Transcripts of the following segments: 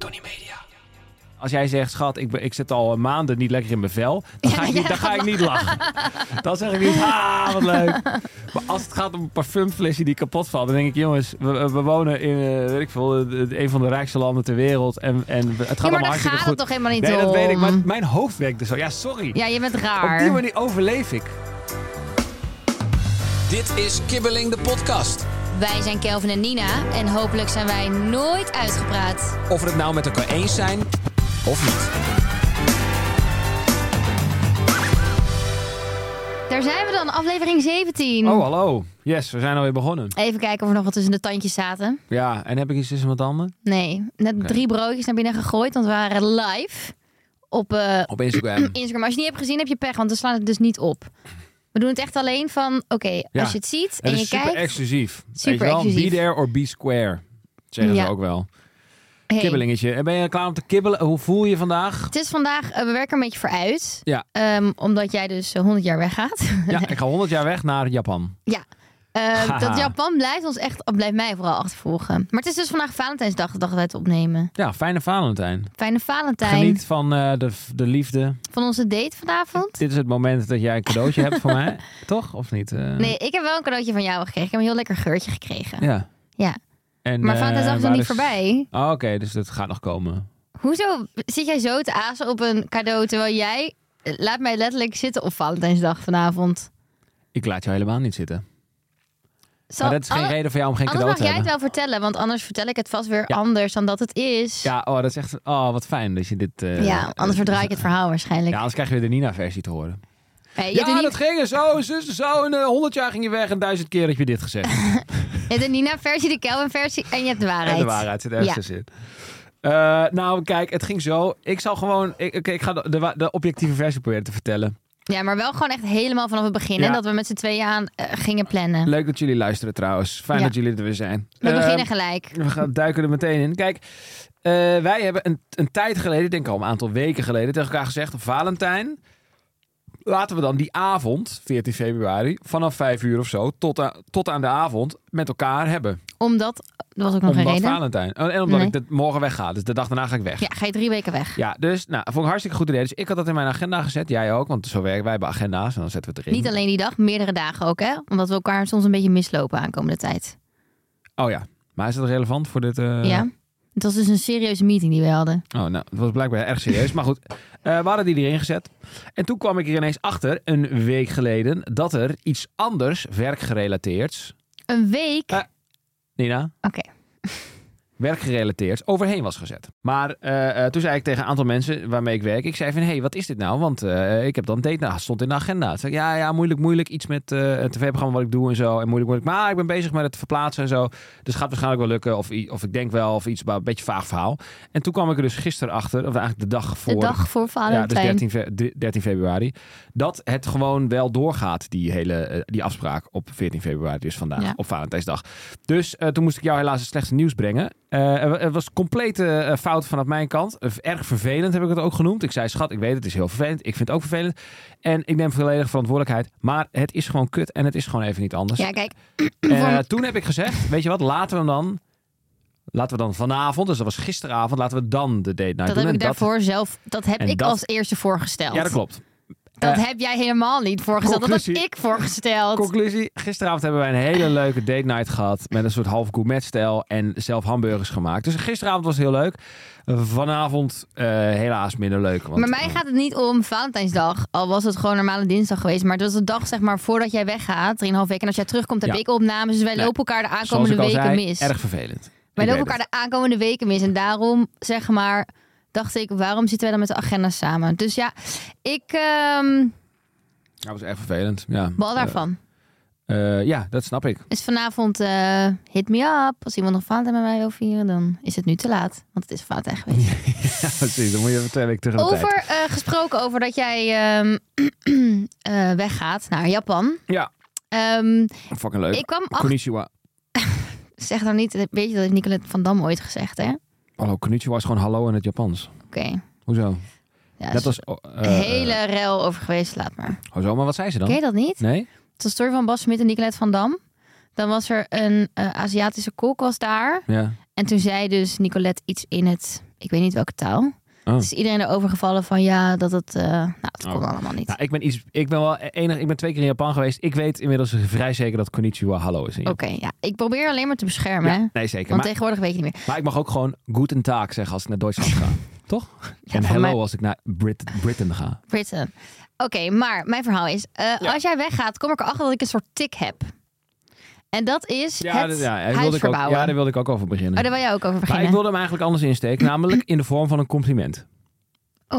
Tony Media. Als jij zegt, schat, ik, ben- ik zit al eh, maanden niet lekker in mijn vel, dan ga ik niet, dan ga ik niet lachen. Dan zeg ik niet, ah, wat leuk. Maar als het gaat om een parfumflesje die kapot valt, dan denk ik, jongens, we, we wonen in, eh, weet ik veel, eh, een van de rijkste landen ter wereld. En, en Ja, het gaat maar allemaal daar hartstikke gaat het goed. toch helemaal niet nee, dat weet ik, om? maar mijn hoofd werkt dus zo. Ja, sorry. Ja, je bent Op die raar. manier overleef ik. Dit is Kibbeling de podcast. Wij zijn Kelvin en Nina en hopelijk zijn wij nooit uitgepraat. Of we het nou met elkaar eens zijn of niet. Daar zijn we dan, aflevering 17. Oh, hallo. Yes, we zijn alweer begonnen. Even kijken of er nog wat tussen de tandjes zaten. Ja, en heb ik iets tussen mijn tanden? Nee, net drie broodjes naar binnen gegooid, want we waren live op eh, Op Instagram. Instagram. Als je het niet hebt gezien, heb je pech, want we slaan het dus niet op. We doen het echt alleen van, oké, Ja. als je het ziet en Het je is super kijkt... exclusief. Super Weet je wel, exclusief. Be there or be square. Zeggen Ja. ze ook wel. Hey, Kibbelingetje. En ben je klaar om te kibbelen? Hoe voel je je vandaag? Het is vandaag, eh, we werken een beetje vooruit. Ja. Ehm, omdat jij dus eh, 100 jaar weggaat. Ja, ik ga 100 jaar weg naar Japan. Ja. Ehm, Haha. dat Japan blijft ons echt, oh, blijft mij vooral achtervolgen. Maar het is dus vandaag Valentijnsdag, de dag dat wij het opnemen. Ja, fijne Valentijn. Fijne Valentijn. Geniet van eh, de, de liefde. Van onze date vanavond. Dit is het moment dat jij een cadeautje hebt voor mij. Toch? Of niet? Eh, Nee, ik heb wel een cadeautje van jou gekregen. Ik heb een heel lekker geurtje gekregen. Ja. Ja. En, Maar eh, Valentijnsdag is nog waar niet voorbij. Oh, Oké, dus dat gaat nog komen. Hoezo zit jij zo te azen op een cadeau terwijl jij... eh, Laat mij letterlijk zitten op Valentijnsdag vanavond. Ik laat jou helemaal niet zitten. Zal- Maar dat is geen Anne- reden voor jou om geen Anders cadeau mag te jij het hebben. wel vertellen, want anders vertel ik het vast weer Ja. anders dan dat het is. Ja, oh, dat is echt... Oh, wat fijn dat je dit... eh, Ja, anders verdraai ik het verhaal Ja, waarschijnlijk. anders krijg je weer de Nina-versie te horen. Hey, je Ja, hebt er dat niet- ging er zo, en zus en zo. En honderd jaar ging je weg en duizend keer heb je dit gezegd. je hebt de Nina-versie, de Kelvin-versie en je hebt de waarheid. En de waarheid zit ergens Ja. tussen. Eh, nou, kijk, het ging zo. Ik zal gewoon... Ik, oké, ik ga de, de, wa- de objectieve versie proberen te vertellen. Ja, maar wel gewoon echt helemaal vanaf het begin. En Ja. dat we met z'n tweeën aan eh, gingen plannen. Leuk dat jullie luisteren trouwens. Fijn Ja. dat jullie er weer zijn. We Eh, beginnen gelijk. We gaan duiken er meteen in. Kijk, eh, wij hebben een, een tijd geleden, ik denk al een aantal weken geleden, tegen elkaar gezegd: Valentijn. Laten we dan die avond, 14 februari, vanaf 5 uur of zo, tot, aan- tot aan de avond met elkaar hebben. Omdat, dat was ook nog een omdat reden. Valentijn. En omdat Nee. ik dat morgen wegga. Dus de dag daarna ga ik weg. Ja, ga je drie weken weg. Ja, dus nou, vond ik een hartstikke goed idee. Dus ik had dat in mijn agenda gezet. Jij ook, want zo werken wij bij agenda's en dan zetten we het erin. Niet alleen die dag, meerdere dagen ook, hè? Omdat we elkaar soms een beetje mislopen aankomende tijd. Oh ja, maar is dat relevant voor dit? eh, Ja? Het was dus een serieuze meeting die we hadden. Oh, nou, het was blijkbaar erg serieus. Maar goed, eh, we hadden die erin gezet. En toen kwam ik er ineens achter, een week geleden, dat er iets anders werkgerelateerds, Een week? Eh. Nina, Oké. werkgerelateerd overheen was gezet. Maar eh, eh, toen zei ik tegen een aantal mensen waarmee ik werk, ik zei van, hé, hey, wat is dit nou? Want eh, ik heb dan date, nou, stond in de agenda. Toen zei ik, ja, ja, moeilijk, moeilijk, iets met eh het tv-programma wat ik doe en zo. En moeilijk, moeilijk, maar ik ben bezig met het verplaatsen en zo. Dus het gaat waarschijnlijk wel lukken, of, i- of ik denk wel, of iets, maar een beetje vaag verhaal. En toen kwam ik er dus gisteren achter, of eigenlijk de dag voor... De dag voor Ja, dus Valentijn. 13, fe- de- 13 februari. Dat het gewoon wel doorgaat, die hele eh, die afspraak op 14 februari, dus vandaag, Ja. op Valentijnsdag. Dus eh, toen moest ik jou helaas het slechtste nieuws brengen. Eh, er wa- het was complete eh, fout vanaf mijn kant. Eh, Erg vervelend heb ik het ook genoemd. Ik zei, schat, ik weet het is heel vervelend. Ik vind het ook vervelend. En ik neem volledig verantwoordelijkheid. Maar het is gewoon kut en het is gewoon even niet anders. Ja, kijk. Eh, voor- toen heb ik gezegd, weet je wat, laten we hem dan... Laten we dan vanavond, dus dat was gisteravond, laten we dan de date night dat doen. heb ik En daarvoor zelf... Dat heb en ik dat- als eerste voorgesteld. Ja, dat klopt. Dat Eh, heb jij helemaal niet voorgesteld. Dat conclusie- heb ik voorgesteld. Conclusie, gisteravond hebben wij een hele leuke date night gehad met een soort half gourmetstijl en zelf hamburgers gemaakt. Dus gisteravond was heel leuk. Vanavond eh, helaas minder leuk. Want, eh, maar mij gaat het niet om Valentijnsdag. Al was het gewoon normale dinsdag geweest. Maar dat is de dag zeg maar voordat jij weggaat. Drieënhalf weken. En als jij terugkomt heb Ja. ik opnames. Dus wij Nee, lopen elkaar de zoals aankomende ik al weken zei, mis. erg vervelend. wij Ik lopen weet elkaar de aankomende weken mis. En daarom zeg maar dacht ik waarom zitten wij dan met de agenda samen? Dus ja, ik ehm het. Dat was erg vervelend. Ja. bal Eh, daarvan. Eh, ja, dat snap ik. Dus vanavond eh, hit me up. Als iemand nog Valentijn met mij wil vieren, dan is het nu te laat. Want het is Valentijn geweest. Ja, precies. Dan moet je even twee weken terug in de tijd. Over eh, gesproken over dat jij ehm, eh, weggaat naar Japan. Ja, Eh, Ehm, fucking leuk. ik kwam achter... Konnichiwa. Zeg nou niet, weet je dat heeft Nicolette van Dam ooit gezegd, hè? Oké. Hallo, konnichiwa is gewoon hallo in het Japans. Hoezo? Ja, dat is was... een Eh, hele rel over geweest, laat maar. eh, Hoezo? Maar wat zei ze dan? Ken je dat niet? Nee? Het was de story van Bas Smit en Nicolette van Dam. Dan was er een eh, Aziatische kok was daar. Ja. En toen zei dus Nicolette iets in het, ik weet niet welke taal. Oh. Dus iedereen erover gevallen van ja, dat het, eh, nou, het kon Oh. allemaal niet. Nou, ik ben, iets, ik ben wel enig. Ik ben twee keer in Japan geweest. Ik weet inmiddels vrij zeker dat konnichiwa hallo is. in Oké, ja. Ik probeer alleen maar te beschermen, hè. Japan. Want Nee, zeker. Maar, tegenwoordig weet je niet meer. maar ik mag ook gewoon guten tag zeggen als ik naar Duitsland ga. Toch? en voor hello mij- als ik naar Brit Britain ga. Britain. Oké, maar mijn verhaal is, eh, Ja. als jij weggaat, kom ik erachter dat ik een soort tik heb. En dat is het dat- ja, daar huis wilde ik ook, verbouwen. ja, daar wilde ik ook over beginnen. Oh, daar wil jij ook over maar beginnen. ik wilde hem eigenlijk anders insteken, namelijk in de vorm van een compliment. Nou,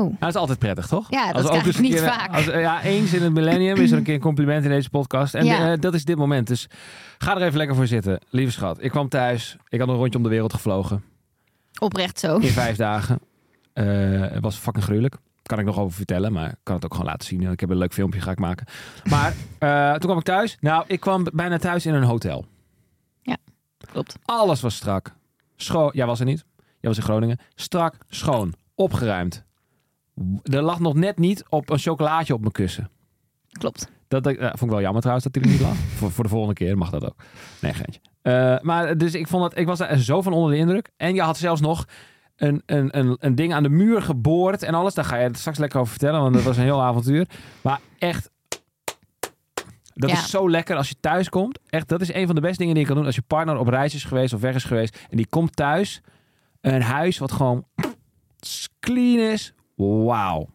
Oh, dat is altijd prettig, toch? Ja, dat we ook krijg eens ik een niet keer- vaak. Als, eh, ja, eens in het millennium is er een keer een compliment in deze podcast. En Ja. eh, dat is dit moment. Dus ga er even lekker voor zitten, lieve schat. Ik kwam thuis, ik had een rondje om de wereld gevlogen. oprecht zo. in vijf dagen. Eh, het was fucking gruwelijk. Kan ik nog over vertellen, maar ik kan het ook gewoon laten zien. Ik heb een leuk filmpje ga ik maken. Maar eh, toen kwam ik thuis. Nou, ik kwam bijna thuis in een hotel. Ja, klopt. Alles was strak. Schoon. Jij was er niet. Jij was in Groningen. Strak, schoon, opgeruimd. Er lag nog net niet op een chocolaatje op mijn kussen. Klopt. Dat dat- eh, vond ik wel jammer trouwens dat hij er niet lag. voor, voor de volgende keer mag dat ook. Nee, geintje. Eh, maar dus ik vond dat ik was daar zo van onder de indruk. En je had zelfs nog een, een, een, een ding aan de muur geboord en alles. Daar ga je het straks lekker over vertellen, want dat was een heel avontuur. Maar echt, dat Ja. is zo lekker als je thuis komt. Echt, dat is een van de beste dingen die je kan doen als je partner op reis is geweest of weg is geweest. En die komt thuis, een huis wat gewoon clean is. Wauw.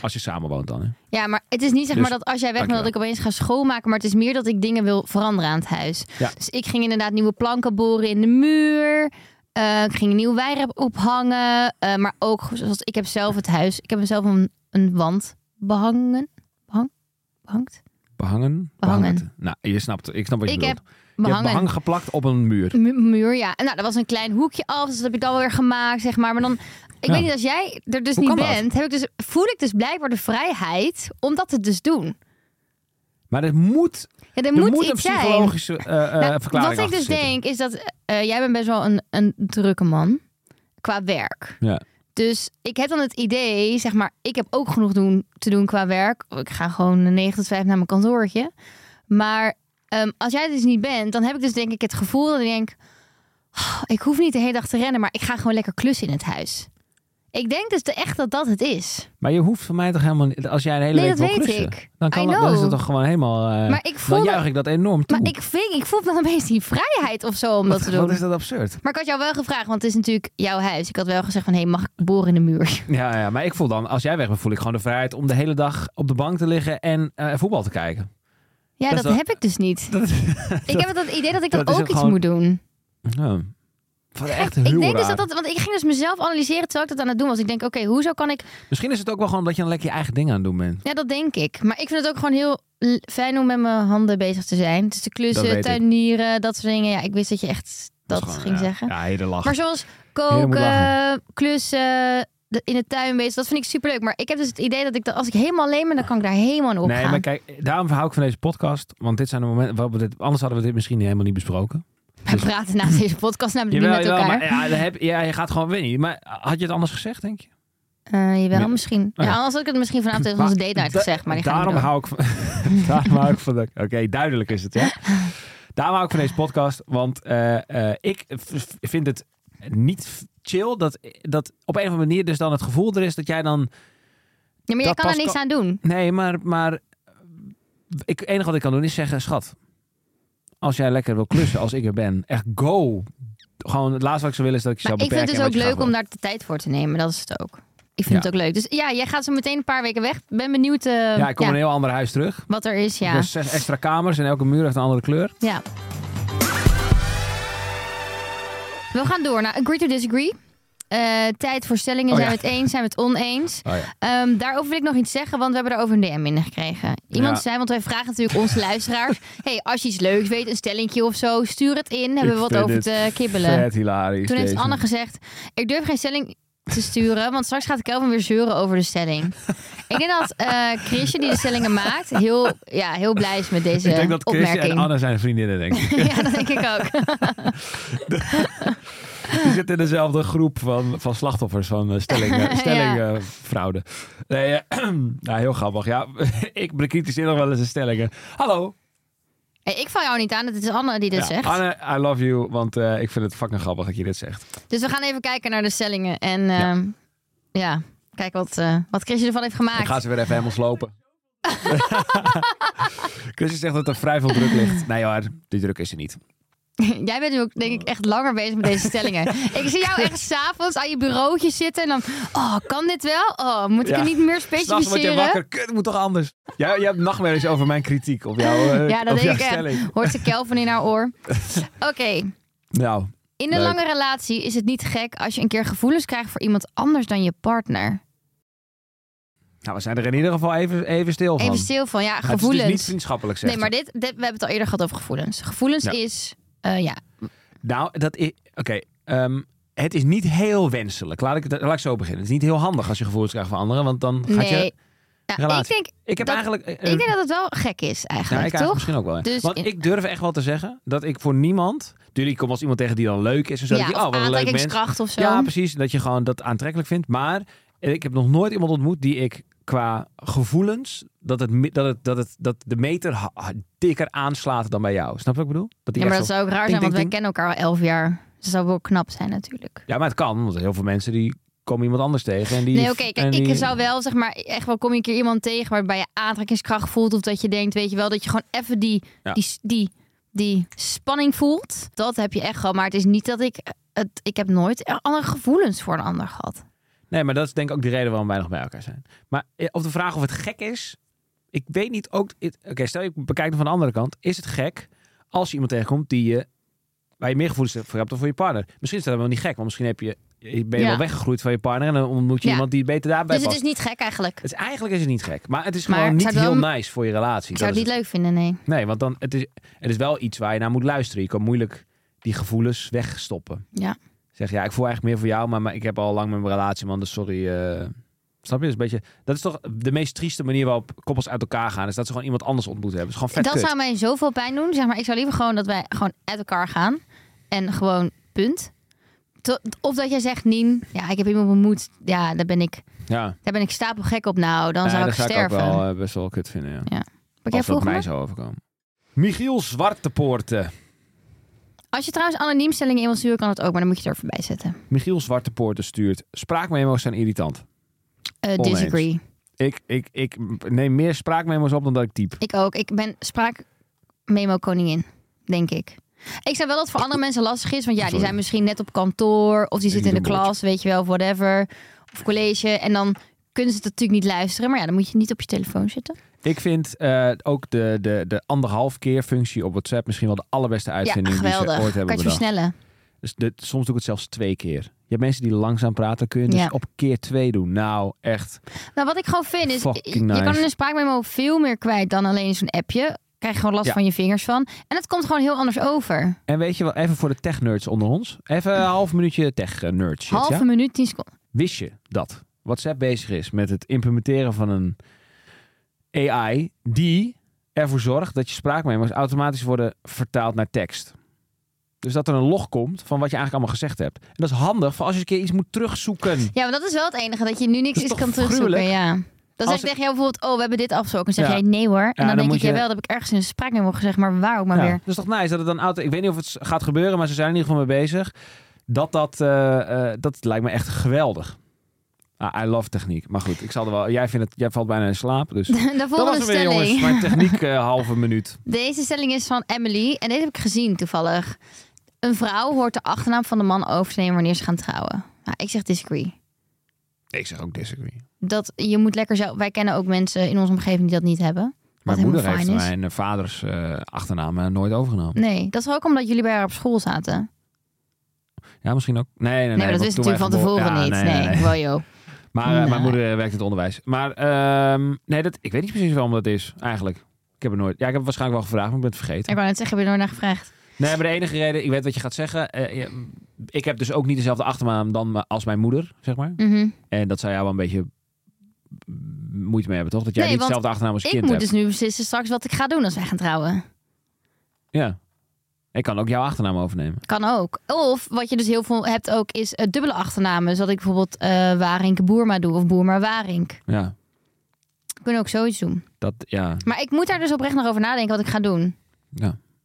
Als je samen woont dan. Hè? Ja, maar het is niet zeg Dus, maar dat als jij weg bent dat ik dankjewel. opeens ga schoonmaken. Maar het is meer dat ik dingen wil veranderen aan het huis. Ja. Dus ik ging inderdaad nieuwe planken boren in de muur. Eh, ik ging een nieuw wijrep ophangen. Eh, maar ook, zoals ik heb zelf het huis. Ik heb zelf een, een wand behangen. Behang, behangt? Behangen? Behangen. Nou, je snapt, ik snap wat je Ik bedoelt. heb je hebt Behangen. behang geplakt op een muur. Mu- muur, ja. En nou, er was een klein hoekje af. Dus dat heb ik dan weer gemaakt, zeg maar. Maar dan, ik Ja. weet niet, als jij er dus Hoe niet kan dat? bent, heb ik dus, voel ik dus blijkbaar de vrijheid om dat te dus doen. Maar er moet, Ja, er, er moet, een iets zijn. psychologische eh, eh, Nou, verklaring Wat ik achter dus zitten. denk is dat eh, jij bent best wel een, een drukke man qua werk. Ja. Dus ik heb dan het idee, zeg maar, ik heb ook genoeg doen, te doen qua werk. Ik ga gewoon een 9 tot 5 naar mijn kantoortje. Maar ehm, als jij dus niet bent, dan heb ik dus denk ik het gevoel dat ik denk... "Oh, ik hoef niet de hele dag te rennen, maar ik ga gewoon lekker klussen in het huis. Ik denk dus te- echt dat dat het is. Maar je hoeft van mij toch helemaal niet... Als jij een hele Nee, week dat wil weet klussen, ik. Dan, kan I dat, dan is know. dat toch gewoon helemaal... eh, Maar ik voel dan dat- juig ik dat enorm toe. Maar ik, vind, ik voel dan opeens die vrijheid of zo om dat te doen. Wat is dat absurd? Maar ik had jou wel gevraagd, want het is natuurlijk jouw huis. Ik had wel gezegd van, hé, mag ik boren in de muur? Ja, ja, maar ik voel dan, als jij weg bent, voel ik gewoon de vrijheid om de hele dag op de bank te liggen en eh, voetbal te kijken. Ja, Dat dat, is wel- heb ik dus niet. Dat, ik heb het idee dat ik dat dat, is ook ook iets gewoon moet doen. ja. Wat echt heel Ik denk dus dat raar. dat... Want ik ging dus mezelf analyseren terwijl ik dat aan het doen was. Ik denk, oké, hoezo kan ik... Misschien is het ook wel gewoon omdat je dan lekker je eigen ding aan het doen bent. Ja, dat denk ik. Maar ik vind het ook gewoon heel l- fijn om met mijn handen bezig te zijn. Dus de Dat klussen, weet ik. tuinieren, dat soort dingen. Ja, ik wist dat je echt dat, is gewoon, ging ja. zeggen. Ja, hele lach. Maar zoals Helemaal koken, klussen, de- in de tuin bezig. Dat vind ik superleuk. Maar ik heb dus het idee dat ik dat... Als ik helemaal alleen ben, dan kan ik daar helemaal in opgaan. Nee, maar kijk, daarom hou ik van deze podcast. Want dit zijn de momenten waarop we dit. Anders hadden we dit misschien helemaal niet besproken. We praten naast deze podcast namelijk niet met elkaar. maar ja, dan heb, ja, je gaat gewoon winnen. Maar had je het anders gezegd, denk je? Eh, jawel, Ja. misschien. Oh, ja. Ja, anders had ik het misschien vanavond tegen Maar onze date night da- gezegd. Maar die gaan daarom we hou ik van. daarom hou ik van. de- Oké, duidelijk is het, ja. Daarom hou ik van deze podcast. Want eh, eh, ik v- v- vind het niet f- chill dat, dat op een of andere manier dus dan het gevoel er is dat jij dan. ja, maar jij dat kan er pas niks kan- aan doen. Nee, maar. maar ik, het enige wat ik kan doen is zeggen: schat, als jij lekker wil klussen als ik er ben, echt go. Gewoon het laatste wat ik zou willen is dat ik je Maar zou ik vind het beperken. dus in ook wat je leuk graag om wil. daar de tijd voor te nemen. Dat is het ook. Ik vind Ja. het ook leuk. Dus ja, jij gaat zo meteen een paar weken weg. Ben benieuwd eh, Ja, ik kom ja, in een heel ander huis terug. wat er is. Ja. Dus zes extra kamers en elke muur heeft een andere kleur. ja. We gaan door naar Agree to Disagree. eh, tijd voor stellingen. Oh, zijn ja. we het eens, zijn we het oneens? Oh ja. Ehm, daarover wil ik nog iets zeggen, want we hebben daarover een DM binnengekregen. Iemand Ja. zei, want wij vragen natuurlijk onze luisteraars... hey, als je iets leuks weet, een stellingje of zo, stuur het in. Hebben we wat over te kibbelen. Vet hilarisch. Toen heeft deze. Anne gezegd, ik durf geen stelling te sturen... want straks gaat Kelvin weer zeuren over de stelling. ik denk dat eh Chrisje, die de stellingen maakt... heel, ja, heel blij is met deze Ik denk dat Chris opmerking. en Anne zijn vriendinnen, denk ik. ja, dat denk ik ook. Die zitten in dezelfde groep van, van slachtoffers van eh, stellingen, Ja. stellingfraude. Nee, eh, nou, heel grappig. Ja, ik bekritiseer nog wel eens de stellingen. Hallo. Hey, ik val jou niet aan, het is Anne die dit Ja, zegt. Anne, I love you, want eh, ik vind het fucking grappig dat je dit zegt. Dus we gaan even kijken naar de stellingen. En Ja. ehm, ja, kijken wat, eh wat Chrisje ervan heeft Ik gemaakt. ga ze weer even helemaal slopen. Chris zegt dat er vrij veel druk ligt. Nee hoor, die druk is er niet. Jij bent nu ook, denk ik, echt langer bezig met deze stellingen. ik zie jou echt s'avonds aan je bureautje zitten en dan... Oh, kan dit wel? Oh, moet ik Ja. het niet meer S'nachts word je specificeren? wakker. Kut, het moet toch anders? Jij, jij hebt nachtmerries over mijn kritiek op jouw, eh, Ja, dat op jouw denk ik stelling. echt. Hoort ze Kelvin in haar oor. Oké, Nou, in een Leuk. lange relatie is het niet gek als je een keer gevoelens krijgt voor iemand anders dan je partner. nou, we zijn er in ieder geval even, even stil van. Even stil van, ja, Het is dus niet gevoelens. vriendschappelijk, zegt nee, maar dit, dit, we hebben het al eerder gehad over gevoelens. Gevoelens Ja. is, eh, ja, Nou, dat is. Oké. ehm, het is niet heel wenselijk. Laat ik, het- laat ik zo beginnen. Het is niet heel handig als je gevoelens krijgt van anderen. Want dan gaat nee. je. Ja, ik relatie- denk, Ik heb dat- eigenlijk. eh, ik denk dat het wel gek is nou, ik eigenlijk, eigenlijk toch? misschien ook wel. ja. Dus want in- ik durf echt wel te zeggen dat ik voor niemand. Jullie komen als iemand tegen die dan leuk is en zo. ja, denk je, of oh, wat een leuk mens. aantrekkingskracht of zo. Ja, precies. Dat je gewoon dat aantrekkelijk vindt. Maar eh, ik heb nog nooit iemand ontmoet die ik qua gevoelens. dat, het, me- dat, het, dat, het, dat de meter ha- ha- dikker aanslaat dan bij jou. Snap je wat ik bedoel? Dat die ja, maar echt dat zo- zou ook raar ding, zijn, want wij ding, kennen elkaar al elf jaar. Dus dat zou wel knap zijn natuurlijk. Ja, maar het kan. Want heel veel mensen die komen iemand anders tegen. En die, Nee, oké, en kijk, ik die- zou wel, zeg maar, echt wel kom je een keer iemand tegen waarbij je aantrekkingskracht voelt. Of dat je denkt, weet je wel, dat je gewoon even die, Ja. die, die, die spanning voelt. Dat heb je echt gewoon. Maar het is niet dat ik, het, ik heb nooit andere gevoelens voor een ander gehad. Nee, maar dat is denk ik ook de reden waarom wij nog bij elkaar zijn. Maar eh, op de vraag of het gek is, ik weet niet ook... het- Oké, stel je bekijkt het van de andere kant. Is het gek als je iemand tegenkomt die je, waar je meer gevoelens voor hebt dan voor je partner? Misschien is dat wel niet gek, want misschien heb je, ben je Ja. wel weggegroeid van je partner... en dan ontmoet je Ja. iemand die beter daarbij Dus het past. is niet gek eigenlijk. Het is, eigenlijk is het niet gek, maar het is Maar gewoon ik niet zou het heel wel- nice voor je relatie. Ik Dat zou het is niet leuk vinden, nee. het. Nee, want dan, het, is, het is wel iets waar je naar moet luisteren. Je kan moeilijk die gevoelens wegstoppen. Ja. Zeg ja, ik voel eigenlijk meer voor jou, maar, maar ik heb al lang mijn relatie, man. Dus sorry. eh, snap je? Dat is, een beetje, dat is toch de meest trieste manier waarop koppels uit elkaar gaan. Is dat ze gewoon iemand anders ontmoet hebben. Dat is gewoon vet dat kut. zou mij zoveel pijn doen. Zeg maar, ik zou liever gewoon dat wij gewoon uit elkaar gaan. En gewoon punt. To- Of dat jij zegt, Nien, ja, ik heb iemand ontmoet. Ja, daar ben ik, Ja, Nee, daar ben ik stapelgek op nou. Dan dat zou ik zou sterven. ik ook wel eh, best wel kut vinden, ja. Maar jij Als het op vroeg me, mij zou overkomen. Michiel Zwartepoorten. als je trouwens anoniem stellingen in wil sturen, kan het ook. Maar dan moet je het er even bij zetten. Michiel Zwartepoorten stuurt. Spraakmemo's zijn irritant. Eh, disagree. Ik, ik, ik neem meer spraakmemo's op dan dat ik typ. Ik ook. Ik ben spraakmemo koningin, denk ik. Ik snap wel dat het voor andere mensen lastig is. Want ja, die Sorry. zijn misschien net op kantoor. Of die zitten in de doe een klas, weet je wel, of whatever. Of college. En dan kunnen ze het natuurlijk niet luisteren. Maar ja, dan moet je niet op je telefoon zitten. Ik vind eh, ook de, de, de anderhalf keer functie op WhatsApp misschien wel de allerbeste Ja, uitvinding die ze ooit geweldig. kan hebben je het bedacht. versnellen. Dus de- soms doe ik het zelfs twee keer. Je hebt mensen die langzaam praten, kun je dus Ja. op keer twee doen. Nou, echt. Nou, wat ik gewoon vind is, Fucking je nice. kan in een spraakmemo veel meer kwijt dan alleen in zo'n appje. Krijg je gewoon last Ja. van je vingers van. En het komt gewoon heel anders over. En weet je wel, even voor de tech-nerds onder ons. Even een half minuutje tech-nerd shit, Halve ja? minuut, tien seconden. Wist je dat WhatsApp bezig is met het implementeren van een AI die ervoor zorgt dat je spraakmemo's automatisch worden vertaald naar tekst? Dus dat er een log komt van wat je eigenlijk allemaal gezegd hebt. En dat is handig voor als je een keer iets moet terugzoeken. Ja, maar dat is wel het enige, dat je nu niks Dat is is toch kan terugzoeken. gruwelijk? Ja. Dan zeg Als ik het- tegen jou bijvoorbeeld, oh, we hebben dit afgesproken. Dan zeg Ja. jij, nee hoor. En dan dan, denk moet ik, jawel, je- dat heb ik ergens in een spraakmemo gezegd. Maar waarom maar Ja, weer? Dat is Dus toch nice dat het dan auto. Ik weet niet of het s- gaat gebeuren, maar ze zijn er in ieder geval mee bezig. Dat, dat, eh, eh, dat lijkt me echt geweldig. Ah, I love techniek. Maar goed, ik zal er wel. Jij, vindt het, jij valt bijna in slaap. Dus. De Dat was volgende hem weer, stelling. jongens. Mijn techniek eh, halve minuut. Deze stelling is van Emily. En deze heb ik gezien toevallig. Een vrouw hoort de achternaam van de man over te nemen wanneer ze gaan trouwen. Nou, ik zeg disagree. Ik zeg ook disagree. dat je moet lekker zelf. Wij kennen ook mensen in onze omgeving die dat niet hebben. Mijn helemaal moeder heeft fijn is. mijn eh, vaders eh, achternaam eh, nooit overgenomen. Nee, dat is ook omdat jullie bij haar op school zaten. Ja, misschien ook. Nee, nee, nee. Hm. Nee, maar dat wist want toen wij natuurlijk van tevoren geboren- Ja, niet. Nee, wel joh. Maar eh, Nee. mijn moeder eh, werkt in het onderwijs. Maar ehm, nee, dat, ik weet niet precies waarom dat is, eigenlijk. Ik heb het nooit. Ja, ik heb het waarschijnlijk wel gevraagd, maar ik ben het vergeten. Ik wou net zeggen, heb je er nooit naar gevraagd. Nee, maar de enige reden, ik weet wat je gaat zeggen. eh, je- ik heb dus ook niet dezelfde achternaam dan me- als mijn moeder, zeg maar. Mhm. En dat zou jij wel een beetje moeite mee hebben, toch? Dat jij Nee, niet want dezelfde achternaam als je Ik kind moet hebt. dus nu beslissen straks wat ik ga doen als wij gaan trouwen. dus- Ja. Ik kan ook jouw achternaam overnemen. Kan ook. Of wat je dus heel veel hebt ook is eh, dubbele achternamen. Zodat ik bijvoorbeeld eh Warink Boerma doe of Boerma Warink. Ja. We kunnen ook zoiets doen. Dat, ja. Maar ik moet daar dus oprecht nog over nadenken wat ik ga doen.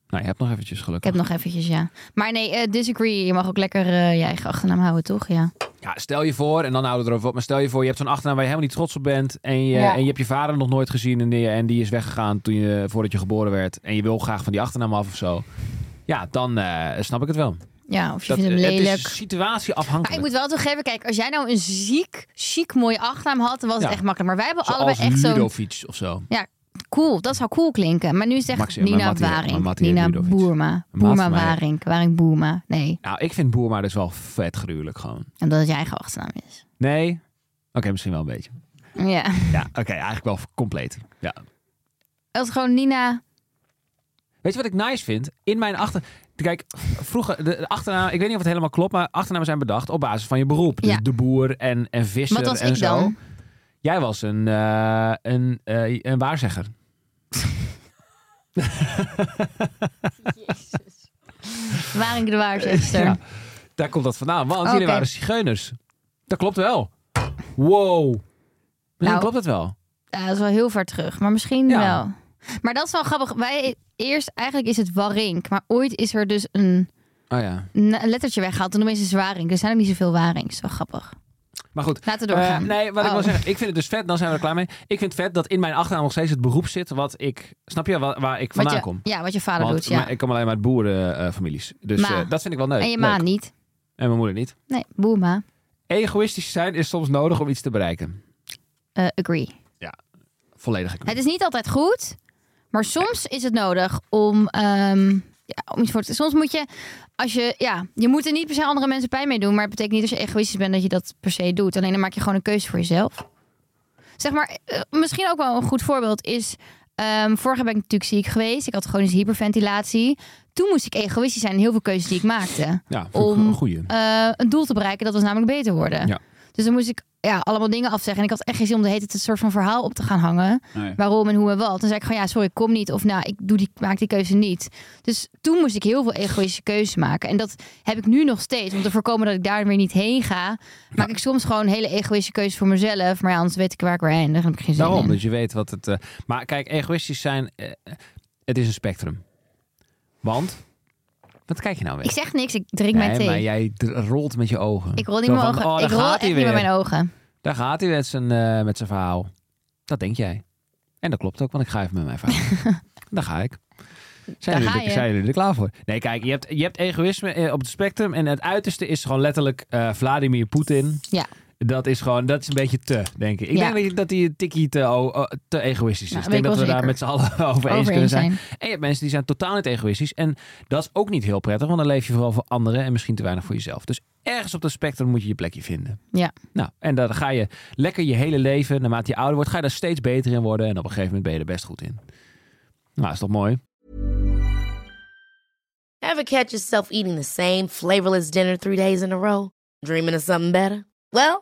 Nou, je hebt nog eventjes Ik geluk. heb nog eventjes, ja. Maar nee, eh, disagree. Je mag ook lekker eh, je eigen achternaam houden, toch? Ja. Ja, stel je voor, en dan houden we erover op, maar stel je voor, je hebt zo'n achternaam waar je helemaal niet trots op bent. En je, Ja. en je hebt je vader nog nooit gezien en die, en die is weggegaan toen je, voordat je geboren werd. En je wil graag van die achternaam af of zo. Ja, dan eh, snap ik het wel. Ja, of je Dat, eh, vindt hem het lelijk. is situatie Maar ik afhankelijk. moet wel toegeven, kijk, als jij nou een ziek, chic mooie achternaam had, dan was Ja. het echt makkelijk. Maar wij hebben Zoals allebei echt zo'n Ludovic of zo. cool, dat zou cool klinken. Maar nu is het echt Maxi- maar Nina Matti- maar Waring, Matti heet Nina Ludovic. Boerma, Boerma van mij. Waring, Waring Boerma. Nee, Nou, ik vind Boerma dus wel vet gruwelijk gewoon. omdat het je eigen achternaam is. Nee? Oké, misschien wel een beetje. Ja. Ja, oké, eigenlijk wel compleet. Ja. Als gewoon Nina. Weet je wat ik nice vind? In mijn achter... Kijk, vroeger, de de achternaam, ik weet niet of het helemaal klopt, maar achternamen zijn bedacht op basis van je beroep. Dus Ja. de boer en, en visser Wat was en ik zo. dan? Jij was een, eh, een, eh, een waarzegger. Waring de waarzegster. Ja. Daar komt dat vandaan, want Oké. jullie waren zigeuners. Dat klopt wel. Wow. Misschien Nou. klopt het wel. Ja, dat is wel heel ver terug, maar misschien Ja. wel. Maar dat is wel grappig. Wij eerst eigenlijk is het Warink, maar ooit is er dus een, Oh ja. een lettertje weggehaald en opeens is het Waring. Er zijn ook niet zoveel Warings, wel grappig. Maar goed, Laten we doorgaan. Eh, nee, wat ik Oh. wil zeggen, ik vind het dus vet, dan zijn we er klaar mee. Ik vind het vet dat in mijn achternaam nog steeds het beroep zit wat ik, snap je, wa- waar, ik Wat vandaan je, kom. Ja, wat je vader Want doet, ja. maar ik kom alleen maar uit boerenfamilies. dus Ma. eh, dat vind ik wel leuk. en je leuk. ma niet. En mijn moeder niet. Nee, boema. Egoïstisch zijn is soms nodig om iets te bereiken. Eh, agree. Volledig. akkoord. Het is niet altijd goed, maar soms is het nodig om, ehm, ja, om iets voor te... Soms moet je, als je, ja, je moet er niet per se andere mensen pijn mee doen, maar het betekent niet als je egoïstisch bent dat je dat per se doet. Alleen dan maak je gewoon een keuze voor jezelf. Zeg maar, eh, misschien ook wel een goed voorbeeld is, ehm vorige ben ik natuurlijk ziek geweest. Ik had chronische hyperventilatie. Toen moest ik egoïstisch zijn in heel veel keuzes die ik maakte. Ja, vind ik om- een goeie. eh, een doel te bereiken. Dat was namelijk beter worden. Ja. Dus dan moest ik ja, allemaal dingen afzeggen. En ik had echt geen zin om de hele tijd een soort van verhaal op te gaan hangen. Waarom en hoe en wat. Dan zei ik gewoon, ja, sorry, ik kom niet. Of nou, ik doe die, maak die keuze niet. Dus toen moest ik heel veel egoïstische keuzes maken. En dat heb ik nu nog steeds. Om te voorkomen dat ik daar weer niet heen ga, maak ik soms gewoon hele egoïstische keuzes voor mezelf. Maar ja, anders weet ik waar ik weer eindig. Dan heb ik geen zin Daarom, in. dat je weet wat het... eh, maar kijk, egoïstisch zijn, eh, het is een spectrum. Want, wat kijk je nou Ik weer? zeg niks, ik drink mijn nee, thee. maar jij d- rolt met je ogen. Ik rol niet Zo met mijn van, ogen. oh, ik daar rol gaat echt hij niet met weer. mijn ogen. Daar gaat hij met zijn, eh, met zijn verhaal. Dat denk jij. En dat klopt ook, want ik ga even met mijn verhaal. Daar ga ik. Zijn, Daar jullie, ga er- je. zijn jullie er klaar voor? Nee, kijk, je hebt, je hebt egoïsme eh, op het spectrum. En het uiterste is gewoon letterlijk eh, Vladimir Poetin. Ja. Dat is gewoon, dat is een beetje te, denk ik. Ik Ja. denk dat je- dat hij een tikkie te, o- o- te egoïstisch is. Nou, ik weet denk ik dat wel we daar zeker. met z'n allen over, eens Over kunnen eens zijn. zijn. En je hebt mensen die zijn totaal niet egoïstisch. En dat is ook niet heel prettig, want dan leef je vooral voor anderen en misschien te weinig voor jezelf. Dus ergens op dat spectrum moet je je plekje vinden. Ja. Nou, en daar ga je lekker je hele leven, naarmate je ouder wordt, ga je daar steeds beter in worden. En op een gegeven moment ben je er best goed in. Nou, is toch mooi? Ever catch yourself eating the same flavorless dinner three days in a row? Dreaming of something better? Well,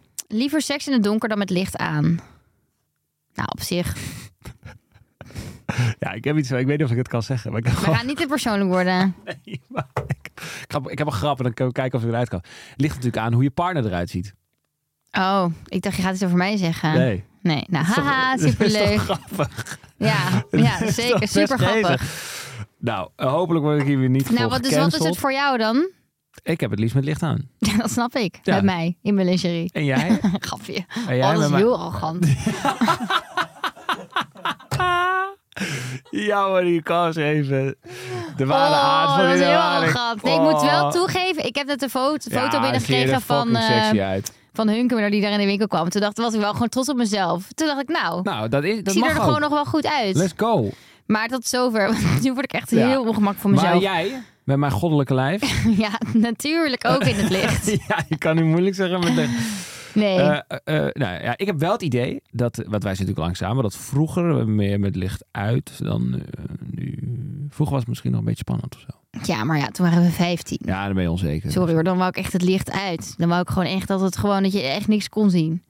liever seks in het donker dan met licht aan. Nou, op zich. Ja, ik heb iets, ik weet niet of ik het kan zeggen. Maar ik, We gaan niet te persoonlijk worden. ik, ga- ik heb een grap en dan kunnen we kijken of ik eruit kan. Het ligt natuurlijk aan hoe je partner eruit ziet. Oh, ik dacht, je gaat iets over mij zeggen. Nee. Nee, nou, Dat is toch- haha, dat is toch superleuk. grappig. Ja, ja Dat is toch zeker, best super grappig. geestig. Nou, eh, hopelijk word ik hier weer niet Nou, voor wat, dus wat is het gecanceld. voor jou dan? Ik heb het liefst met licht aan. Ja, dat snap ik. Ja. Met mij, in mijn lingerie. En jij? Grapje. En jij Oh, dat met is mij? heel arrogant. ja hoor, je kans even. De ware aard Oh, van dat is de heel ware- arrogant. Nee, ik moet Oh. wel toegeven, ik heb net een foto, Ja, foto zie je binnengekregen er van, fucking eh, sexy uit. van Hunkemer die daar in de winkel kwam. Toen dacht, was ik wel gewoon trots op mezelf. Toen dacht ik, nou, Nou, dat is. ik Dat zie mag er ook. gewoon nog wel goed uit. Let's go. Maar dat is zover. want Nu word ik echt Ja. heel ongemak voor Maar mezelf. jij, met mijn goddelijke lijf. Ja, natuurlijk ook in het licht. ja, je kan nu moeilijk zeggen. Met de, Nee. Eh, eh, eh, nou ja, ik heb wel het idee dat, eh, want wij zitten natuurlijk lang samen, dat vroeger meer met licht uit dan eh, nu. Vroeger was het misschien nog een beetje spannend of zo. Ja, maar ja, toen waren we 15. Ja, dan ben je onzeker. Sorry hoor, dan wou ik echt het licht uit. Dan wou ik gewoon echt dat het gewoon dat je echt niks kon zien.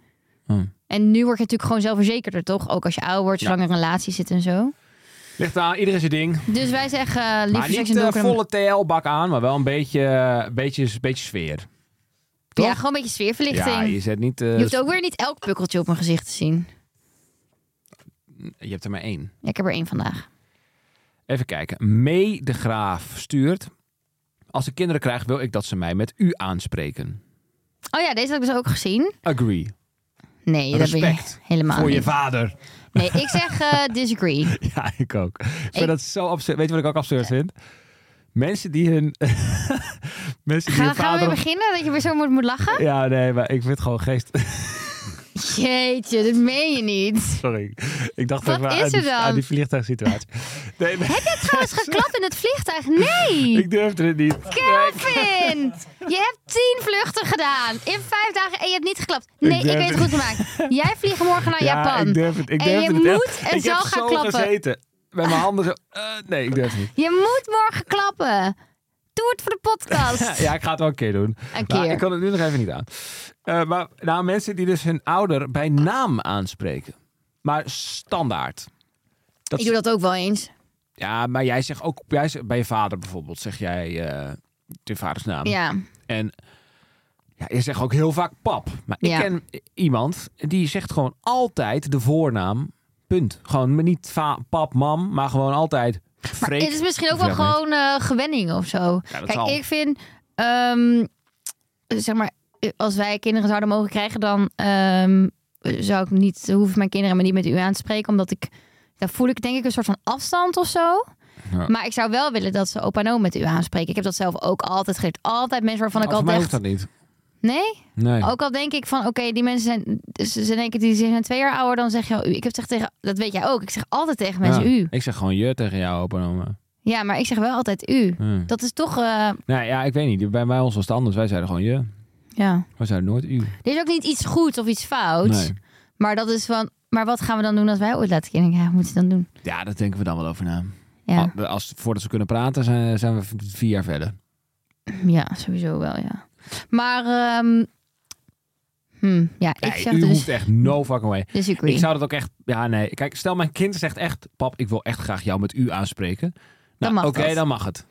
Hmm. En nu word je natuurlijk gewoon zelfverzekerder, toch? Ook als je ouder wordt, Ja. zolang er een relatie zit en zo. Ligt aan, iedereen zijn ding. Dus wij zeggen eh, Maar liever niet seks en eh, donker. dan- volle TL-bak aan, maar wel een beetje, eh, beetje, beetje sfeer. toch? Ja, gewoon een beetje sfeerverlichting. Ja, je zet niet. eh, Je hoeft ook weer niet elk pukkeltje op mijn gezicht te zien. je hebt er maar één. Ja, ik heb er één vandaag. Even kijken. Mee de Graaf stuurt. Als ik kinderen krijg, wil ik dat ze mij met u aanspreken. Oh ja, deze had ik dus ook gezien. Agree. Nee, dat ben je Respect helemaal voor niet. je vader. Nee, ik zeg eh, disagree. Ja, ik ook. Ik vind Ik- dat zo absurd. Weet je wat ik ook absurd vind? Mensen die hun... mensen die Gaan, hun gaan we weer vader... beginnen? Dat je weer zo moet, moet lachen? ja, nee, maar ik vind het gewoon geest... Jeetje, dat meen je niet. Sorry. Ik dacht Wat even is aan, er die, dan? aan die vliegtuigsituatie. Nee, maar Heb je trouwens geklapt in het vliegtuig? Nee! ik durfde het niet. Kevin! Je hebt tien vluchten gedaan in vijf dagen en je hebt niet geklapt. Nee, ik, durf weet het goed het gemaakt. Jij vliegt morgen naar ja, Japan. ik durf het. Ik en durfde je het moet echt. en ik zal heb gaan zo klappen. gezeten. Met mijn handen zo... eh, nee, ik durf het niet. Je moet morgen klappen. Doe het voor de podcast. Ja, ik ga het wel een keer doen. Een Maar keer. ik kan het nu nog even niet aan. Eh, maar nou, mensen die dus hun ouder bij naam aanspreken. Maar standaard. Dat Ik doe dat ook wel eens. Ja, maar jij zegt ook jij zegt, bij je vader bijvoorbeeld, zeg jij eh je vaders naam. Ja. En ja, je zegt ook heel vaak pap. Maar ik Ja. ken iemand die zegt gewoon altijd de voornaam, punt. Gewoon maar niet va- pap, mam, maar gewoon altijd Freek. Het is misschien ook Of wel ja, maar gewoon eh, gewenning of zo. Ja, dat Kijk, zal. ik vind, ehm, zeg maar, eh, als wij kinderen zouden mogen krijgen, dan ehm, zou ik niet, hoef ik mijn kinderen me niet met u aan te spreken, omdat ik, daar voel ik denk ik een soort van afstand of zo. Ja. Maar ik zou wel willen dat ze opa en oma met u aanspreken. Ik heb dat zelf ook altijd geleerd. Altijd mensen waarvan ik Voor mij altijd... hoeft dat niet. Nee? Nee. Ook al denk ik van, oké, die mensen zijn... Ze ze denken, die zijn twee jaar ouder, dan zeg je al u. Ik heb zeg tegen... Dat weet jij ook. Ik zeg altijd tegen mensen Ja. u. Ik zeg gewoon je tegen jou, opa en oma. Ja, maar ik zeg wel altijd u. Ja. Dat is toch... eh, Nou ja, ik weet niet. Bij mij ons was het anders. Wij zeiden gewoon je. ja. Wij zeiden nooit u. Er is ook niet iets goeds of iets fouts. Nee. Maar dat is van... Maar wat gaan we dan doen als wij ooit laten kinderen krijgen? Wat moet je dan doen? Ja, daar denken we dan wel over na. Ja, Al- Als, voordat ze kunnen praten, zijn, zijn we v- vier jaar verder. Ah. ja sowieso wel, ja. Maar... ehm, hm, ja, ik Nee, zeg u dus... hoeft echt no fucking way. Disagree. Ik zou dat ook echt... Ja, nee. Kijk, stel mijn kind zegt echt... Pap, ik wil echt graag jou met u aanspreken. Nou, Dan mag Oké, dat. dan mag het.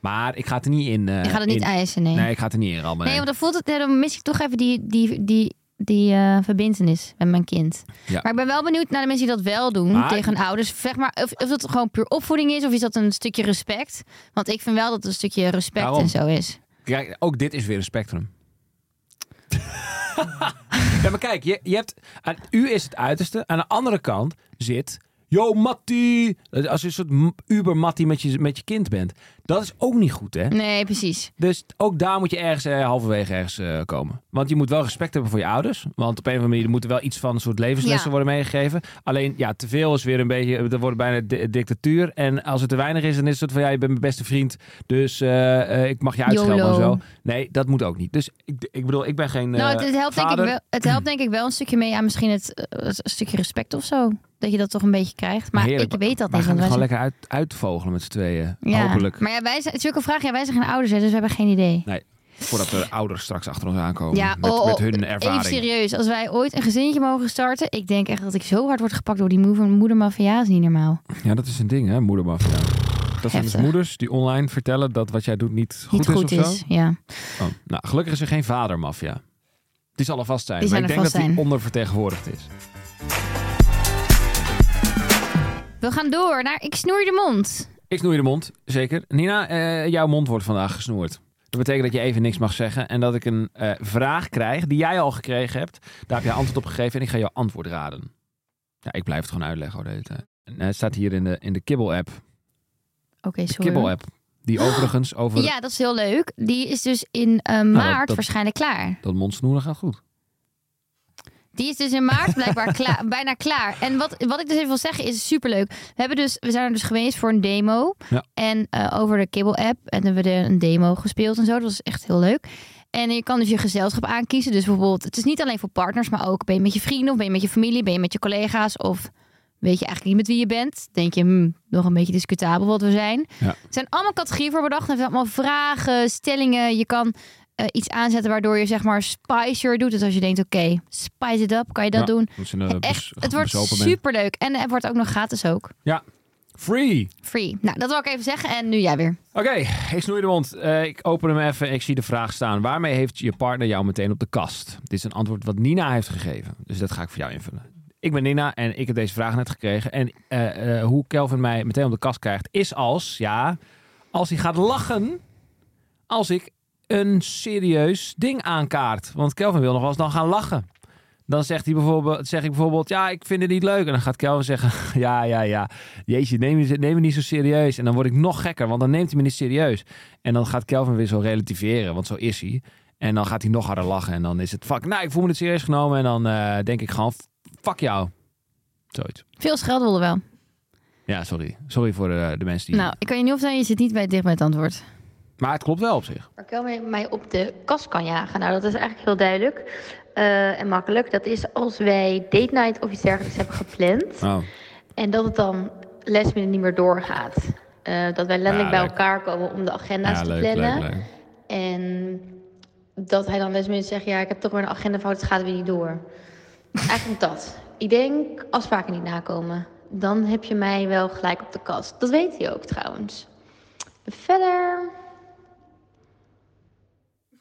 Maar ik ga het er niet in... eh, Je gaat het niet in- eisen, nee. Nee, ik ga het er niet in rammen. Nee, nee. want dan voelt het, ja, dan mis ik toch even die, die, die, die eh verbindenis met mijn kind. Ja. Maar ik ben wel benieuwd naar de mensen die dat wel doen Maar- tegen hun ouders. Zeg maar, of, of dat gewoon puur opvoeding is of is dat een stukje respect? Want ik vind wel dat het een stukje respect Daarom. en zo is. Kijk, ook dit is weer een spectrum. ja, maar kijk, je, je hebt, aan u is het uiterste. Aan de andere kant zit... Yo, Mattie! Als je een soort m- uber-Mattie met je, met je kind bent. Dat is ook niet goed, hè? Nee, precies. Dus ook daar moet je ergens eh, halverwege ergens eh, komen. Want je moet wel respect hebben voor je ouders. Want op een of andere manier moet er wel iets van een soort levenslessen Ja. worden meegegeven. Alleen ja, te veel is weer een beetje, er wordt bijna di- dictatuur. En als het te weinig is, dan is het soort van ja, je bent mijn beste vriend. Dus eh, eh, ik mag je uitschelden en YOLO. zo. Nee, dat moet ook niet. Dus ik, ik bedoel, ik ben geen. nou, eh, het, het helpt denk ik vader. wel, het helpt denk ik wel een stukje mee aan misschien het eh, een stukje respect of zo. Dat je dat toch een beetje krijgt. Maar Heerlijk. ik weet dat Wij niet. gaan want het wij gewoon zijn- lekker uit, uitvogelen met z'n tweeën. ja. Hopelijk. Maar ja, wij zijn, het is ook een vraag. Ja, wij zijn geen ouders, hè, dus we hebben geen idee. Nee, voordat de ouders straks achter ons aankomen. Ja, met, oh, met oh, hun Even ervaring. serieus, als wij ooit een gezinnetje mogen starten, ik denk echt dat ik zo hard word gepakt door die moeder, moeder maffia is niet normaal. Ja, dat is een ding, hè, moedermafia. Dat zijn dus Heftig. moeders die online vertellen dat wat jij doet niet goed niet is goed of is. zo. Ja. Oh, nou, gelukkig is er geen vadermafia. Die zal er vast zijn, Die maar zijn ik er denk dat vast die zijn. ondervertegenwoordigd is. We gaan door naar ik snoer je de mond. Ik snoei de mond, zeker. Nina, eh, jouw mond wordt vandaag gesnoerd. Dat betekent dat je even niks mag zeggen en dat ik een eh, vraag krijg die jij al gekregen hebt. Daar heb jij antwoord op gegeven en ik ga jouw antwoord raden. Ja, ik blijf het gewoon uitleggen. Hoor, de hele tijd. En, eh, het staat hier in de, in de Kibbel-app. Oké, De sorry. Kibbel-app. Die overigens over Ja, dat is heel leuk. Die is dus in eh, maart Nou, dat- waarschijnlijk klaar. dat mondsnoeren gaat goed. Die is dus in maart blijkbaar klaar, bijna klaar. En wat, wat ik dus even wil zeggen is superleuk. We, hebben dus, we zijn er dus geweest voor een demo. Ja. En eh, over de Kibbel-app. En hebben we er een demo gespeeld en zo. Dat was echt heel leuk. En je kan dus je gezelschap aankiezen. Dus bijvoorbeeld, het is niet alleen voor partners, maar ook ben je met je vrienden of ben je met je familie, ben je met je collega's of weet je eigenlijk niet met wie je bent. Denk je, hmm, nog een beetje discutabel wat we zijn. Ja. Er zijn allemaal categorieën voor bedacht. Er zijn allemaal vragen, stellingen. Je kan eh, iets aanzetten waardoor je zeg maar spicier doet. Dus als je denkt, oké, spice it up, kan je dat Ja, doen. dat is een, eh, Echt, bes- het wordt bezopen ben. superleuk. En het wordt ook nog gratis ook. Ja. Free! Free. Nou, dat wil ik even zeggen. En nu jij weer. Oké, ik snoei de mond. Eh, ik open hem even. Ik zie de vraag staan. Waarmee heeft je partner jou meteen op de kast? Dit is een antwoord wat Nina heeft gegeven. Dus dat ga ik voor jou invullen. Ik ben Nina en ik heb deze vraag net gekregen. En eh, eh, hoe Kelvin mij meteen op de kast krijgt, is als, ja, als hij gaat lachen. Als ik een serieus ding aankaart. Want Kelvin wil nog wel eens dan gaan lachen. Dan zegt hij bijvoorbeeld, zeg ik bijvoorbeeld, ja, ik vind het niet leuk. En dan gaat Kelvin zeggen, ja, ja, ja. Jeetje, neem, je- neem me niet zo serieus. En dan word ik nog gekker, want dan neemt hij me niet serieus. En dan gaat Kelvin weer zo relativeren, want zo is hij. En dan gaat hij nog harder lachen. En dan is het, fuck, nou, ik voel me niet serieus genomen. En dan eh, denk ik gewoon, fuck jou. Zoiets. Veel scheldwoorden wel. Ja, sorry. Sorry voor eh, de, de mensen die... Nou, ik kan je niet opzetten, je zit niet bij dicht bij het antwoord. Maar het klopt wel op zich. waar Kelvin mij op de kast kan jagen. Nou, dat is eigenlijk heel duidelijk eh, en makkelijk. Dat is als wij date night of iets dergelijks hebben gepland. Oh. En dat het dan last minute niet meer doorgaat. Eh, dat wij Ja, letterlijk bij Ah, leuk. elkaar komen om de agenda's Ja, te leuk, plannen. leuk, leuk. En dat hij dan last minute zegt, ja, ik heb toch weer een agendafout, het gaat weer niet door. Eigenlijk dat. Ik denk afspraken niet nakomen. Dan heb je mij wel gelijk op de kast. Dat weet hij ook trouwens. Verder...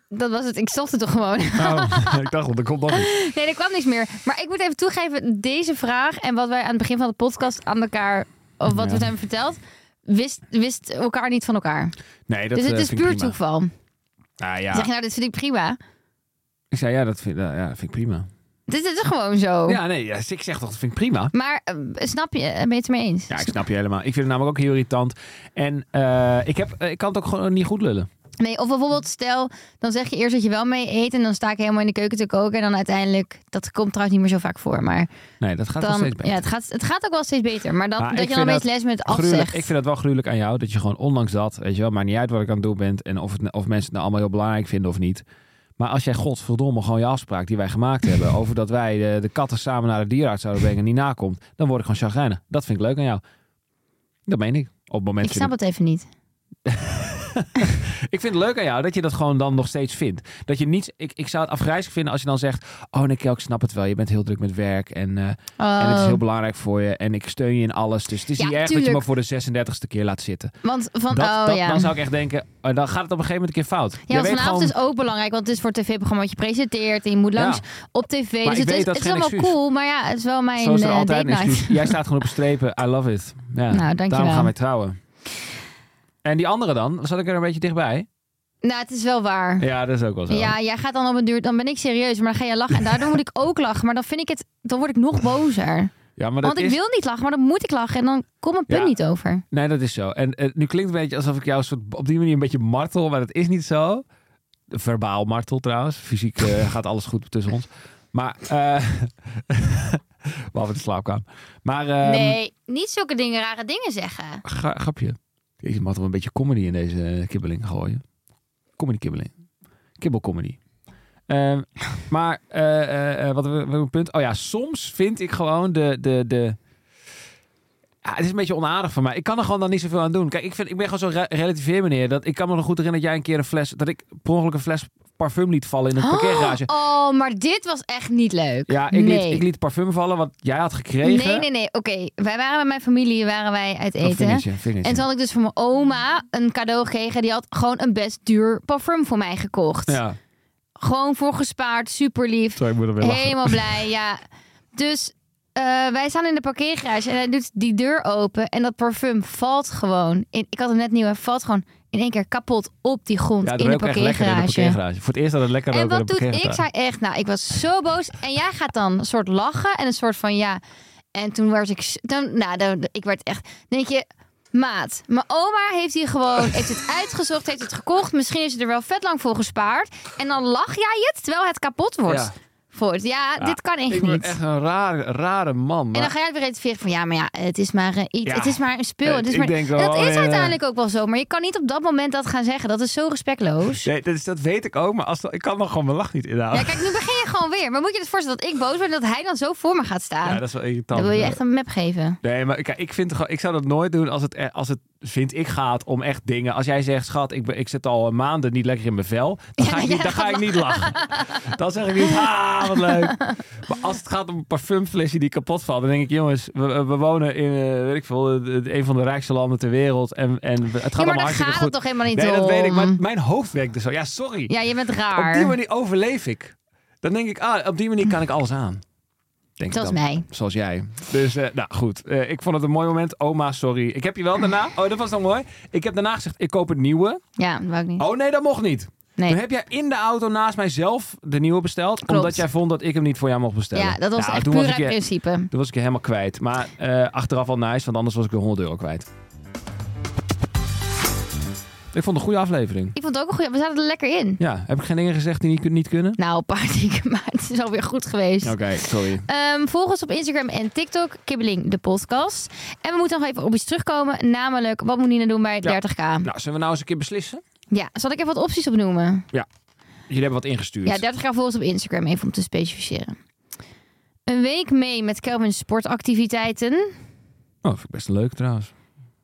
Dat was het. Ik zocht het toch gewoon. Nou, ik dacht, dat komt nog niet. Nee, er kwam niks meer. Maar ik moet even toegeven, deze vraag en wat wij aan het begin van de podcast aan elkaar, of wat we het hebben verteld, wist, wist elkaar niet van elkaar. Nee, dat dus eh, het is vind ik puur prima. toeval. Ah, Zeg je ja. nou, dit vind ik prima. Ik zei, ja, dat vind, eh, ja, ja, vind ik prima. Dit, dit is gewoon zo. Ja, nee, ja, dus ik zeg toch, dat vind ik prima. Maar eh, snap je, eh, ben je het ermee eens? Ja, ik snap je helemaal. Ik vind het namelijk ook heel irritant. En eh, ik, heb, eh, ik kan het ook gewoon niet goed lullen. Nee, of bijvoorbeeld stel, dan zeg je eerst dat je wel mee eet en dan sta ik helemaal in de keuken te koken en dan uiteindelijk, dat komt trouwens niet meer zo vaak voor, maar Nee, dat gaat nog dan, steeds beter. ja, het gaat, het gaat ook wel steeds beter. Maar dan, Maar ik dat je vind dan opeens les dat met Gruwelijk. afzegt. Ik vind dat wel gruwelijk aan jou. Dat je gewoon ondanks dat, weet je wel, maakt niet uit wat ik aan het doen ben. En of, het, of mensen het nou allemaal heel belangrijk vinden of niet. Maar als jij godverdomme gewoon je afspraak die wij gemaakt hebben. Over dat wij de, de katten samen naar de dierenarts zouden brengen. Niet nakomt. Dan word ik gewoon chagrijnig. Dat vind ik leuk aan jou. Dat meen ik. Op het moment Ik snap vind het even niet. ik, ik vind het leuk aan jou dat je dat gewoon dan nog steeds vindt. Dat je niets. Ik, ik zou het afgrijzelijk vinden als je dan zegt. Oh nee, Kel, ik snap het wel. Je bent heel druk met werk. En eh, En het is Oh. heel belangrijk voor je. En ik steun je in alles. Dus het is Ja, niet erg dat je me tuurlijk. voor de 36e keer laat zitten. Want van, Dat, oh dat- ja. Dan zou ik echt denken, eh, dan gaat het op een gegeven moment een keer fout. ja, je want weet vanavond gewoon, is ook belangrijk, want het is voor het tv-programma wat je presenteert en je moet langs Ja. op tv. ik dus het weet, is, het dat is is geen allemaal excuus. cool, maar ja, het is wel mijn zo is er eh, altijd date een night. Nou, excuus. Jij staat gewoon op een strepen. I love it. Ja, dankjewel. Daarom gaan wij trouwen. En die andere dan? Zat ik er een beetje dichtbij? Nou, het is wel waar. Ja, dat is ook wel zo. Ja, jij gaat dan op een duur, dan ben ik serieus, maar dan ga jij lachen. En daardoor moet ik ook lachen, maar dan vind ik het, dan word ik nog bozer. Ja, maar dat Want ik is... wil niet lachen, maar dan moet ik lachen en dan komt mijn punt Ja. niet over. Nee, dat is zo. En eh, nu klinkt het een beetje alsof ik jou een soort, op die manier een beetje martel, maar dat is niet zo. Verbaal martel trouwens. Fysiek eh, gaat alles goed tussen ons. Maar, eh behalve de slaapkamer. Maar, ehm, nee, niet zulke dingen, rare dingen zeggen. Ga, grapje. Deze mag toch een beetje comedy in deze eh, kibbeling gooien. Comedy kibbeling. Kibbelcomedy. Ehm, maar eh, eh, eh, wat we een punt. Oh ja, soms vind ik gewoon de. de, de ja, het is een beetje onaardig van mij. Ik kan er gewoon dan niet zoveel aan doen. Kijk, ik, vind, ik ben gewoon zo'n re- relativeer meneer. Dat, ik kan me nog goed herinneren dat jij een keer een fles. Dat ik per ongeluk een fles parfum liet vallen in een parkeergarage. Oh, maar dit was echt niet leuk. Ja, ik, nee. liet, ik liet parfum vallen wat jij had gekregen. Nee, nee, nee. Oké, wij waren bij mijn familie, waren wij uit Een eten. vingertje, een vingertje. En toen had ik dus voor mijn oma een cadeau gekregen. Die had gewoon een best duur parfum voor mij gekocht. Ja, Gewoon voor gespaard, super lief. sorry, ik moet er weer lachen. Helemaal blij, ja. Dus eh, wij staan in de parkeergarage en hij doet die deur open en dat parfum valt gewoon. In, ik had hem net nieuw, hij valt gewoon in één keer kapot op die grond het in de rook echt lekker in de parkeergarage. parkeergarage. Voor het eerst dat het lekker En rook in de wat doet parkeergarage. ik? Zei echt, nou, ik was zo boos. En jij gaat dan een soort lachen en een soort van ja. En toen werd ik, s- dan, nou, dan, ik werd echt, denk je, maat. Mijn oma heeft hier gewoon, heeft het uitgezocht, heeft het gekocht. Misschien is ze er wel vet lang voor gespaard. En dan lach jij het terwijl het kapot wordt. Ja. Voor het- Ja, Ja, dit kan echt Ik niet. ben echt een rare, rare man. En dan Maar ga jij weer redeneren van ja, maar ja, het is maar eh, iets, Ja. het is maar een spul. Het is Ik maar... denk wel, dat is eh, uiteindelijk ook wel zo, maar je kan niet op dat moment dat gaan zeggen. Dat is zo respectloos. Nee, dat, is, dat weet ik ook, maar als, dat- ik kan dan gewoon mijn lach niet inhouden. Ja, kijk, nu begin je gewoon weer. Maar moet je het voorstellen dat ik boos ben en dat hij dan zo voor me gaat staan? Ja, dat is wel irritant. Dan wil je Ja. echt een map geven. Nee, maar kijk, ik, vind, het gewoon- ik zou dat nooit doen als het, eh, als het, vind ik, gaat om echt dingen. Als jij zegt, schat, ik, ben, ik zit al eh, maanden niet lekker in mijn vel. Dan Ja, ga ik jij niet, dan gaat ga ik niet lachen. Dan zeg ik niet, ah, wat leuk. Maar als het gaat om een parfumflesje die kapot valt, dan denk ik, jongens, we, we wonen in, eh, weet ik veel, eh, een van de rijkste landen ter wereld. En, en Ja, het gaat maar allemaal daar hartstikke gaat goed. het toch helemaal niet nee, dat om? weet ik, maar mijn hoofd werkt dus zo. Ja, sorry. Ja, je bent Op raar. die manier overleef ik. Dan denk ik, ah, op die manier kan ik alles aan. Denk Zoals ik dan. mij. Zoals jij. Dus, eh, nou goed. Eh, ik vond het een mooi moment. Oma, sorry. Ik heb je wel daarna... Oh, dat was dan mooi. Ik heb daarna gezegd, ik koop een nieuwe. Ja, dat wou ik niet. Oh nee, dat mocht niet. Nee. Toen heb jij in de auto naast mij zelf de nieuwe besteld. Klopt. Omdat jij vond dat ik hem niet voor jou mocht bestellen. Ja, dat was Nou, echt toen puur was ik uit je- principe. Toen was ik je helemaal kwijt. Maar eh, achteraf wel nice, want anders was ik weer 100 euro kwijt. Ik vond het een goede aflevering. Ik vond het ook een goede. We zaten er lekker in. Ja, heb ik geen dingen gezegd die niet, niet kunnen? Nou, een paar dingen, maar het is alweer goed geweest. Oké, sorry. Ehm, volg ons op Instagram en TikTok, Kibbeling de podcast. En we moeten nog even op iets terugkomen, namelijk wat moet Nina doen bij 30k? Nou, zullen we nou eens een keer beslissen? Ja, zal ik even wat opties opnoemen? Jullie hebben wat ingestuurd. Ja, 30 jaar volgens op Instagram, even om te specificeren. Een week mee met Kelvin sportactiviteiten. Oh, vind ik best leuk trouwens.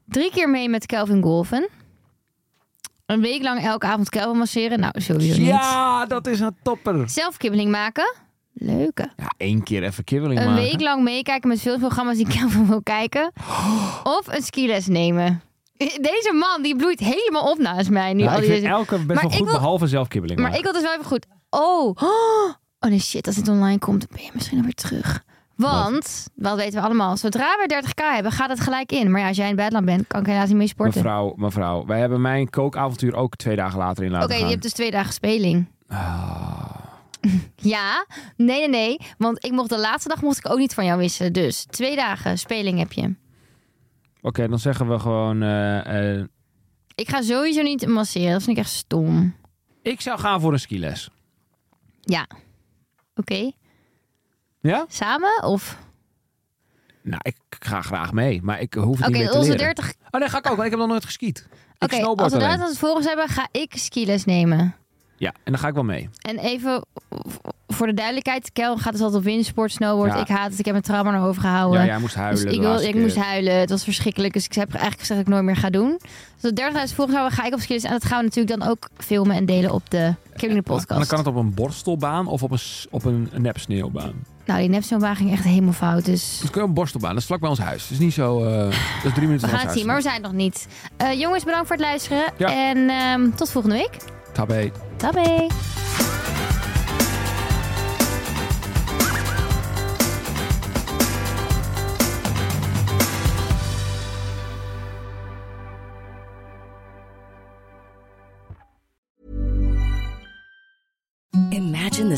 Drie keer mee met Kelvin golfen. Een week lang elke avond Kelvin masseren. Nou, sowieso niet. Ja, dat is een topper. Zelf kibbeling maken. Leuke. Ja, één keer even kibbeling Een maken. week lang meekijken met filmprogramma's die Kelvin wil kijken. Of een skiles nemen. Deze man, die bloeit helemaal op naast mij nu. Ja, al ik die vind elke best Oh, Maar wel ik goed, wil- behalve zelf kibbeling Maar maken. ik wil dus wel even goed. Oh. oh, nee shit, als dit online komt, dan ben je misschien alweer terug. Want, wat weten we allemaal, zodra we 30k hebben, gaat het gelijk in. Maar ja, als jij in het buitenland bent, kan ik helaas niet mee sporten. Oké, Mevrouw, mevrouw, wij hebben mijn kookavontuur ook twee dagen later in laten je gaan. Ah. hebt dus twee dagen speling. Ja, nee, nee, nee. Want ik mocht de laatste dag mocht ik ook niet van jou wisselen. Dus twee dagen speling heb je. Oké, dan zeggen we gewoon... eh, eh, Ik ga sowieso niet masseren. Dat vind ik echt stom. ik zou gaan voor een skiles. Ja. Oké. Ja? Samen of? Nou, ik ga graag mee, maar ik hoef het Oké, niet meer te onze leren. 30. Oh nee, ga ik ook, want ik heb nog nooit geskiet. Ik Oké, snowboard als we alleen. dat als volgens hebben, ga ik skiles nemen. Ja, en dan ga ik wel mee. En even voor de duidelijkheid, Kel gaat dus altijd op windsport, snowboard. Ja. Ik haat het, ik heb mijn trauma naar overgehouden. Ja, jij moest huilen Dus de ik, wil, laatste ik keer. moest huilen, het was verschrikkelijk. Dus ik heb eigenlijk gezegd dat ik nooit meer ga doen. Dus op 30.000 volgers houden, ga ik op skills. En dat gaan we natuurlijk dan ook filmen en delen op de Killing the En dan Podcast. kan het op een borstelbaan of op een, s- op een nep sneeuwbaan. Nou, die nepsnowbaan ging echt helemaal fout. Dus Dus kun je een borstelbaan. Dat is vlak bij ons huis. Dat is niet zo... eh, dat is drie minuten we van gaan het ons zien, maar we zijn het nog niet. Eh, jongens, bedankt voor het luisteren. Ja. En ehm, tot volgende week. huis. Tabé. Tabé! Imagine the